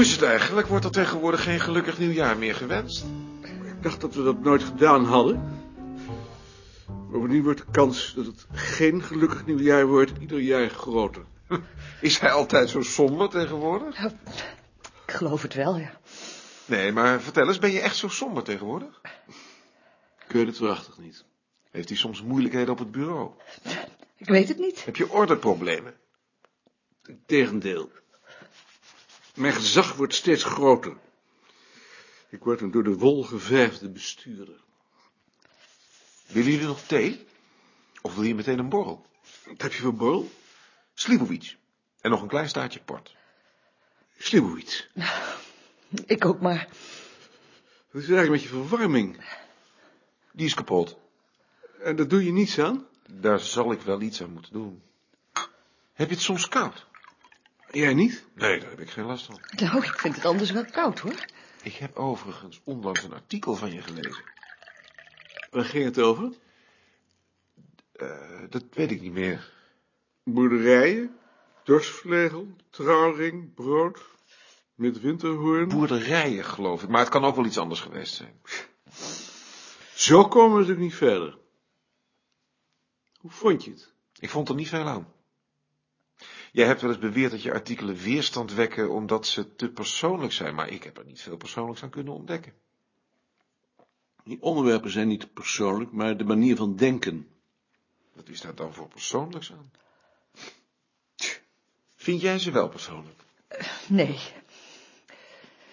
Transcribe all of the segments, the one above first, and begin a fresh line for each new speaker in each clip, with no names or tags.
is het eigenlijk? Wordt er tegenwoordig geen gelukkig nieuwjaar meer gewenst?
Ik dacht dat we dat nooit gedaan hadden. Bovendien wordt de kans dat het geen gelukkig nieuwjaar wordt ieder jaar groter.
Is hij altijd zo somber tegenwoordig?
Oh, Ik geloof het wel, ja.
Nee, maar vertel eens, ben je echt zo somber tegenwoordig?
Ik weet het waarachtig niet.
Heeft hij soms moeilijkheden op het bureau?
Ik weet het niet.
Heb je ordeproblemen?
Tegendeel. Mijn gezag wordt steeds groter. Ik word een door de wol geverfde bestuurder.
Willen jullie nog thee? Of wil je meteen een borrel?
Wat heb je voor borrel?
Slibovic. En nog een klein staartje port.
Slibovic.
Ik ook maar.
Wat is er eigenlijk met je verwarming?
Die is kapot.
En daar doe je niets aan?
Daar zal ik wel iets aan moeten doen. Heb je het soms koud?
Jij niet?
Nee, daar heb ik geen last van.
Nou, ik vind het anders wel koud, hoor.
Ik heb overigens onlangs een artikel van je gelezen.
Waar ging het over?
Eh, dat weet ik niet meer.
Boerderijen, dorsvlegel, trouwring, brood, midwinterhoorn.
Boerderijen, geloof ik. Maar het kan ook wel iets anders geweest zijn.
Zo komen we natuurlijk niet verder. Hoe vond je het?
Ik vond er niet veel aan. Jij hebt wel eens beweerd dat je artikelen weerstand wekken omdat ze te persoonlijk zijn, maar ik heb er niet veel persoonlijks aan kunnen ontdekken.
Die onderwerpen zijn niet persoonlijk, maar de manier van denken.
Wat is daar dan voor persoonlijks aan? Vind jij ze wel persoonlijk?
Nee.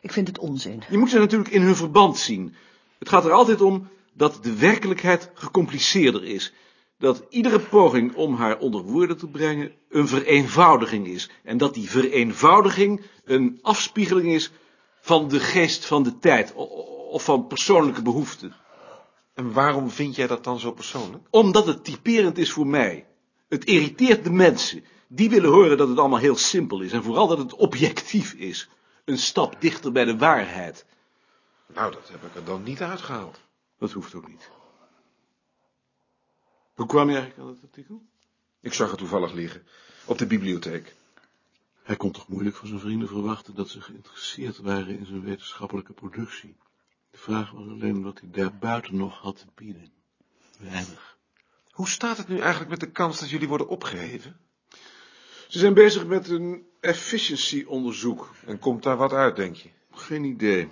Ik vind het onzin.
Je moet ze natuurlijk in hun verband zien. Het gaat er altijd om dat de werkelijkheid gecompliceerder is. Dat iedere poging om haar onder woorden te brengen een vereenvoudiging is. En dat die vereenvoudiging een afspiegeling is van de geest van de tijd o- o- of van persoonlijke behoeften.
En waarom vind jij dat dan zo persoonlijk?
Omdat het typerend is voor mij. Het irriteert de mensen. Die willen horen dat het allemaal heel simpel is en vooral dat het objectief is. Een stap dichter bij de waarheid.
Nou, dat heb ik er dan niet uitgehaald.
Dat hoeft ook niet. Hoe kwam je eigenlijk aan dat artikel?
Ik zag het toevallig liggen. Op de bibliotheek.
Hij kon toch moeilijk van zijn vrienden verwachten dat ze geïnteresseerd waren in zijn wetenschappelijke productie. De vraag was alleen wat hij daarbuiten nog had te bieden. Weinig.
Hoe staat het nu eigenlijk met de kans dat jullie worden opgeheven?
Ze zijn bezig met een efficiency-onderzoek.
En komt daar wat uit, denk je?
Geen idee.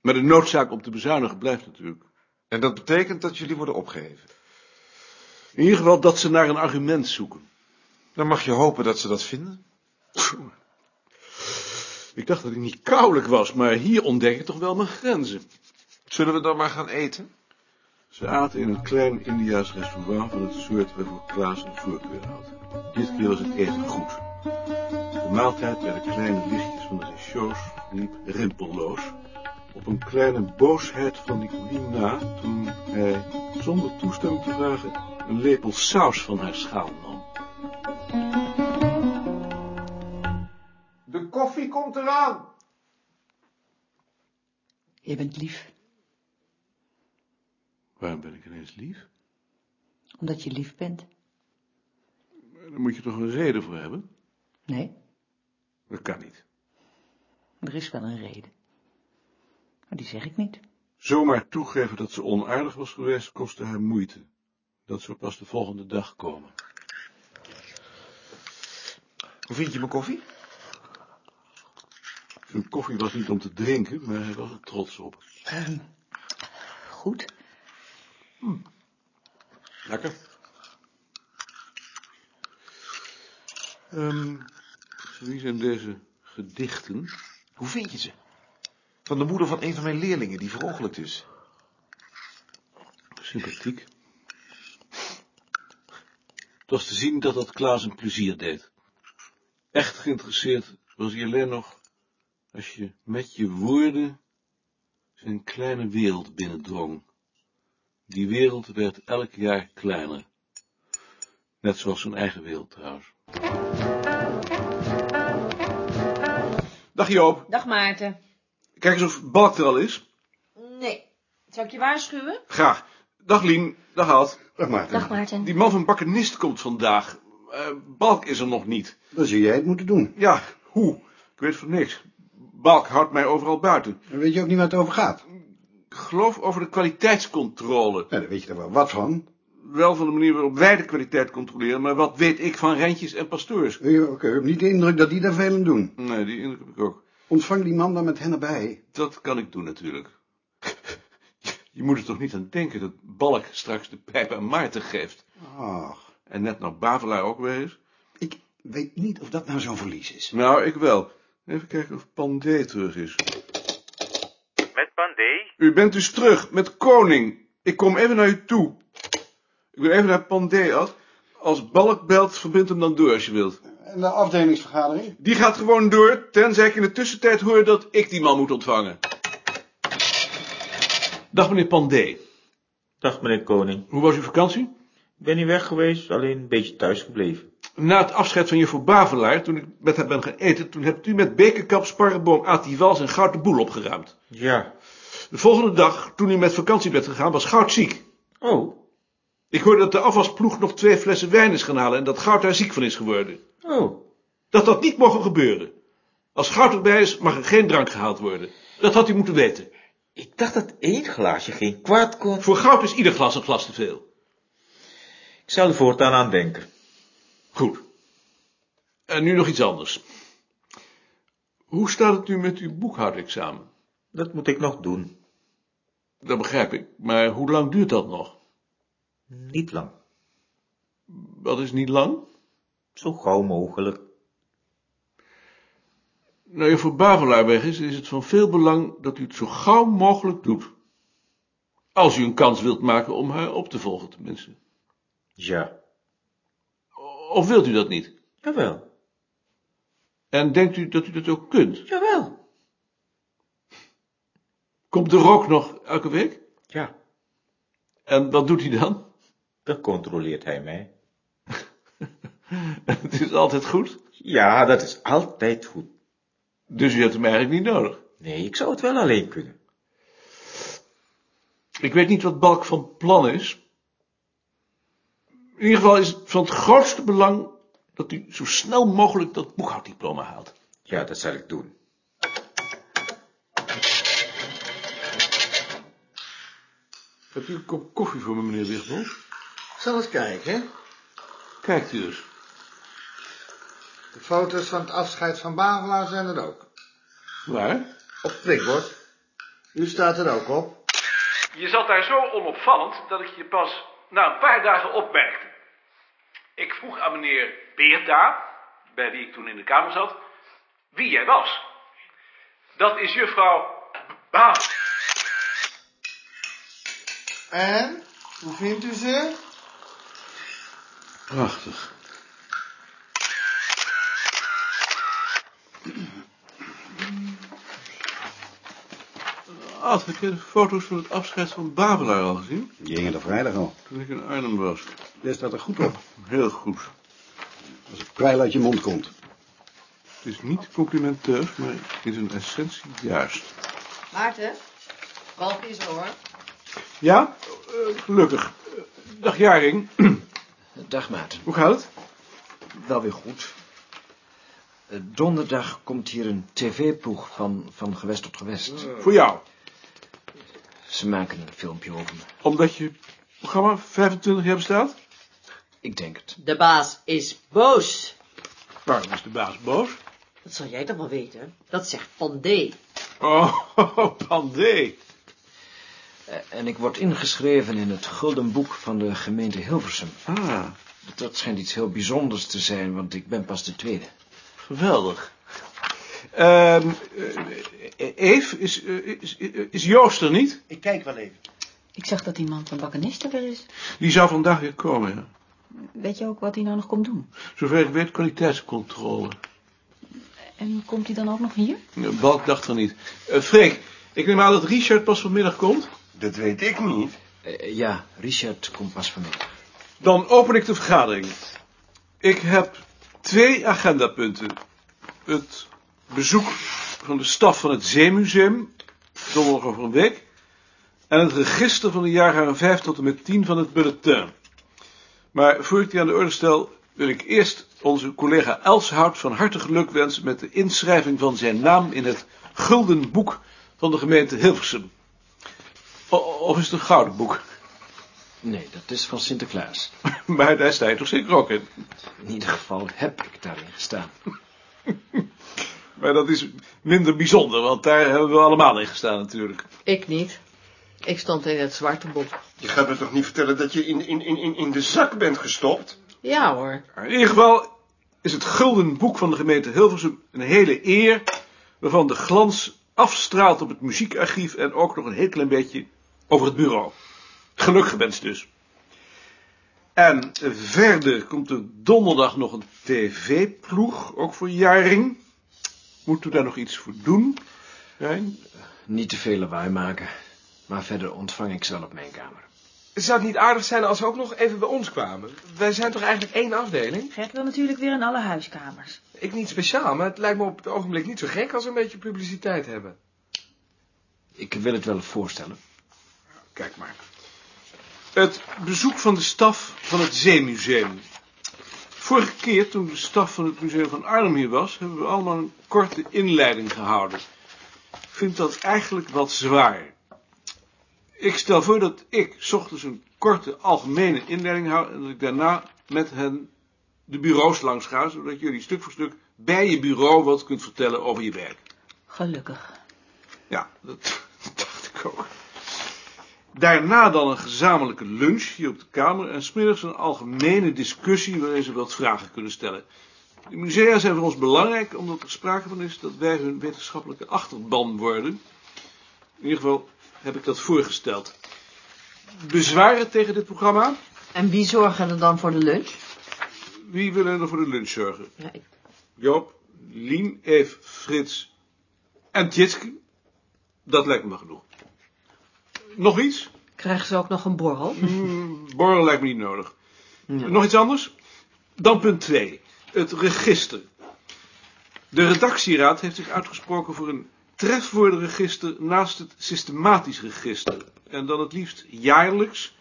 Maar de noodzaak om te bezuinigen blijft natuurlijk.
En dat betekent dat jullie worden opgeheven.
In ieder geval dat ze naar een argument zoeken.
Dan mag je hopen dat ze dat vinden.
Ik dacht dat ik niet koulijk was, maar hier ontdek ik toch wel mijn grenzen.
Zullen we dan maar gaan eten?
Ze aten in een klein Indiaas restaurant van het soort waarvoor Klaas een voorkeur had. Dit keer was het eten goed. De maaltijd bij de kleine lichtjes van de rechauds liep rimpelloos. Op een kleine boosheid van Nicolien na toen hij, zonder toestemming te vragen, een lepel saus van haar schaal nam.
De koffie komt eraan!
Je bent lief,
Waarom ben ik ineens lief?
omdat je lief bent.
Eh, Daar moet je toch een reden voor hebben?
Nee,
Dat kan niet.
er is wel een reden. Maar die zeg ik niet.
Zomaar toegeven dat ze onaardig was geweest, kostte haar moeite. Dat zou pas de volgende dag komen.
Hoe vind je mijn koffie?
Zijn koffie was niet om te drinken, maar hij was er trots op.
Ehm, goed.
Lekker.
Ehm,
wie zijn deze gedichten?
Hoe vind je ze? Van de moeder van een van mijn leerlingen die verongelukt is.
Sympathiek. Het was te zien dat dat Klaas een plezier deed. Echt geïnteresseerd was hij alleen nog als je met je woorden zijn kleine wereld binnendrong. Die wereld werd elk jaar kleiner. Net zoals zijn eigen wereld trouwens. Dag Joop.
Dag Maarten.
Kijk eens of Balk er al is.
Nee. Zal ik je waarschuwen?
Graag. Dag Lien. Dag Ad.
Dag Maarten.
Dag Maarten.
Die man van Bakkenist komt vandaag. Eh, Balk is er nog niet.
Dan zul jij het moeten doen.
Ja, hoe? Ik weet van niks. Balk houdt mij overal buiten.
Dan weet je ook niet waar het over gaat.
Ik geloof over de kwaliteitscontrole.
Nou, daar weet je er wel wat van.
Wel van de manier waarop wij de kwaliteit controleren, maar wat weet ik van Rentjes en Pasteurs?
Ik heb- ik heb niet de indruk dat die daar veel aan doen.
Nee, die indruk heb ik ook.
Ontvang die man dan met hen erbij.
Dat kan ik doen natuurlijk. Je moet er toch niet aan denken dat Balk straks de pijp aan Maarten geeft.
Ach,
En net nou Bavelaar ook weer is.
ik weet niet of dat nou zo'n verlies is.
Nou, ik wel. Even kijken of Pandé terug is.
Met Pandé?
U bent dus terug met koning. Ik kom even naar u toe. Ik wil even naar Pandé af. Als Balk belt, verbind hem dan door als je wilt.
En de afdelingsvergadering?
Die gaat gewoon door, tenzij ik in de tussentijd hoor dat ik die man moet ontvangen. Dag meneer Pandé.
Dag meneer Koning.
Hoe was uw vakantie?
Ik ben niet weg geweest, alleen een beetje thuis gebleven.
Na het afscheid van juffrouw Bavelaar, toen ik met haar ben gaan eten, toen hebt u met Bekerkamp, Sparrenboom, Atiwals en Goud de boel opgeruimd.
Ja.
De volgende dag, toen u met vakantie bent gegaan, was Goud ziek.
Oh.
Ik hoorde dat de afwasploeg nog twee flessen wijn is gaan halen en dat Goud daar ziek van is geworden.
Oh.
Dat had niet mogen gebeuren. Als Goud erbij is, mag er geen drank gehaald worden. Dat had u moeten weten.
Ik dacht dat één glaasje geen kwaad kon.
Voor Goud is ieder glas een glas te veel.
Ik zal er voortaan aan denken.
Goed. En nu nog iets anders. Hoe staat het nu met uw boekhoudexamen?
Dat moet ik nog doen.
Dat begrijp ik, maar hoe lang duurt dat nog?
Niet lang.
Dat is niet lang.
Zo gauw mogelijk.
Nou, juffrouw Bavelaar weg is, is het van veel belang dat u het zo gauw mogelijk doet. Als u een kans wilt maken om haar op te volgen, tenminste.
Ja.
Of wilt u dat niet?
Jawel.
En denkt u dat u dat ook kunt?
Jawel.
Komt de rook nog elke week?
Ja.
En wat doet hij dan?
Dan controleert hij mij.
het is altijd goed.
Ja, dat is altijd goed.
Dus u hebt hem eigenlijk niet nodig.
Nee, ik zou het wel alleen kunnen.
Ik weet niet wat Balk van plan is. In ieder geval is het van het grootste belang dat u zo snel mogelijk dat boekhouddiploma haalt.
Ja, dat zal ik doen.
Hebt u een kop koffie voor me, meneer Wichtbol?
Zal eens kijken. hè.
Kijkt u eens.
De foto's van het afscheid van Bavelaar zijn er ook.
Waar?
Op het prikbord. U staat er ook op.
Je zat daar zo onopvallend dat ik je pas na een paar dagen opmerkte. Ik vroeg aan meneer Beerta, bij wie ik toen in de kamer zat, wie jij was. Dat is juffrouw Baan.
En? Hoe vindt u ze?
Prachtig. Ad, heb je de foto's van het afscheid van Babelaar al gezien?
Die hingen er vrijdag al.
Toen ik in Arnhem was.
Daar staat er goed op.
Heel goed.
Als het kwijl uit je mond komt.
Het is niet complimenteus, maar in zijn essentie juist.
Maarten, Balk is er hoor.
Ja, eh, gelukkig. Eh, Dag Jaring,
Dag Maarten,
hoe gaat het?
wel weer goed. Eh, Donderdag komt hier een tv-ploeg van, van gewest tot gewest.
Voor jou.
Ze maken een filmpje over me.
Omdat je programma 25 jaar bestaat?
Ik denk het.
De baas is boos.
Waarom is de baas boos?
Dat zal jij toch wel weten. Dat zegt Van D.
Oh, pandé.
Eh, En ik word ingeschreven in het Gulden Boek van de gemeente Hilversum.
Ah,
Dat schijnt iets heel bijzonders te zijn, want ik ben pas de tweede.
geweldig. Ehm eh, Eve, is, eh, is, is Joost er niet?
Ik kijk wel even.
Ik zag dat die man van Bakkenist er weer is.
Die zou vandaag weer komen, ja.
Weet je ook wat hij nou nog komt doen?
Zover ik weet, kwaliteitscontrole.
En komt hij dan ook nog hier?
Eh, Balk dacht er niet. Eh, Freek, ik neem aan dat Richard pas vanmiddag komt.
Dat weet ik niet.
Eh, Ja, Richard komt pas vanmiddag.
Dan open ik de vergadering. Ik heb twee agendapunten. Het bezoek van de staf van het Zeemuseum, donderdag over een week. En het register van de jaargangen 5 tot en met 10 van het bulletin. Maar voor ik die aan de orde stel, wil ik eerst onze collega Elshout van harte geluk wensen met de inschrijving van zijn naam in het gulden boek van de gemeente Hilversum. O- of is het een gouden boek?
Nee, dat is van Sinterklaas.
Maar daar sta je toch zeker ook in.
In ieder geval heb ik daarin gestaan.
Maar dat is minder bijzonder, want daar hebben we allemaal in gestaan natuurlijk.
Ik niet. Ik stond in het zwarte boek.
Je gaat me toch niet vertellen dat je in, in, in, in- in de zak bent gestopt?
Ja hoor.
In ieder geval is het gulden boek van de gemeente Hilversum een hele eer, waarvan de glans afstraalt op het muziekarchief en ook nog een heel klein beetje over het bureau. Geluk gewenst dus. En verder komt er donderdag nog een tv-ploeg, ook voor Jaring. Moeten we daar nog iets voor doen? Rijn?
Niet te veel lawaai maken, maar verder ontvang ik ze al op mijn kamer.
Zou het niet aardig zijn als ze ook nog even bij ons kwamen? Wij zijn toch eigenlijk één afdeling?
Gert wil natuurlijk weer in alle huiskamers.
Ik niet speciaal, maar het lijkt me op het ogenblik niet zo gek als we een beetje publiciteit hebben.
Ik wil het wel voorstellen.
Kijk maar. Het bezoek van de staf van het Zeemuseum. Vorige keer, toen de staf van het Museum van Arnhem hier was, hebben we allemaal een korte inleiding gehouden. Ik vind dat eigenlijk wat zwaar. Ik stel voor dat ik 's ochtends een korte algemene inleiding hou en dat ik daarna met hen de bureaus langs ga, zodat jullie stuk voor stuk bij je bureau wat kunt vertellen over je werk.
Gelukkig.
Ja, dat dacht ik ook. Daarna dan een gezamenlijke lunch hier op de Kamer en smiddags een algemene discussie waarin ze wat vragen kunnen stellen. De musea zijn voor ons belangrijk omdat er sprake van is dat wij hun wetenschappelijke achterban worden. In ieder geval heb ik dat voorgesteld. Bezwaren tegen dit programma?
En wie zorgen er dan voor de lunch?
Wie willen er voor de lunch zorgen?
Ja, ik-
Joop, Lien, Eef, Frits en Tjitske? Dat lijkt me wel genoeg. Nog iets?
Krijgen ze ook nog een borrel?
Mm, Borrel lijkt me niet nodig. Nog iets anders? Dan punt 2. Het register. De redactieraad heeft zich uitgesproken voor een trefwoordenregister naast het systematisch register. En dan het liefst jaarlijks,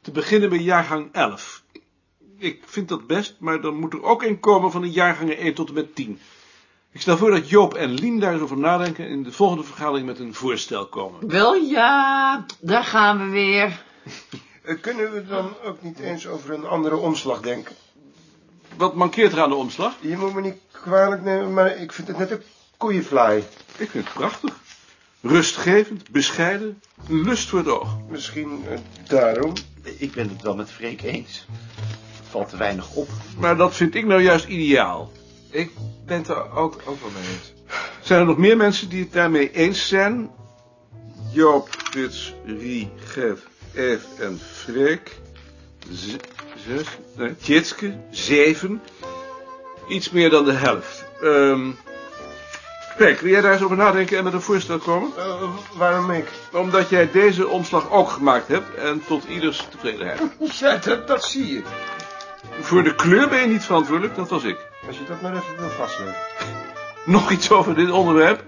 te beginnen bij jaargang 11. Ik vind dat best, maar dan moet er ook een komen van de jaargangen 1 tot en met 10. Ik stel voor dat Joop en Lien daar eens over nadenken en in de volgende vergadering met een voorstel komen.
Wel ja, daar gaan we weer.
Eh, kunnen we dan ook niet eens over een andere omslag denken?
Wat mankeert er aan de omslag?
Je moet me niet kwalijk nemen, maar ik vind het net een koeienvlaai.
Ik vind het prachtig. Rustgevend, bescheiden, een lust voor het oog.
Misschien eh, daarom.
Ik ben het wel met Freek eens. Valt te weinig op.
Maar dat vind ik nou juist ideaal.
Ik ben het er ook, ook wel mee eens.
Zijn er nog meer mensen die het daarmee eens zijn? Joop, Frits, Rie, Gert, Eve en Freek. Z- zes? Nee, Tjitske, zeven. Iets meer dan de helft. Ehm Freek, wil jij daar eens over nadenken en met een voorstel komen?
Eh, waarom ik?
Omdat jij deze omslag ook gemaakt hebt en tot ieders tevredenheid.
Ja, dat, dat zie je.
Voor de kleur ben je niet
nou
verantwoordelijk, dat was ik.
Als je dat maar even wil vastleggen.
Nog iets over dit onderwerp?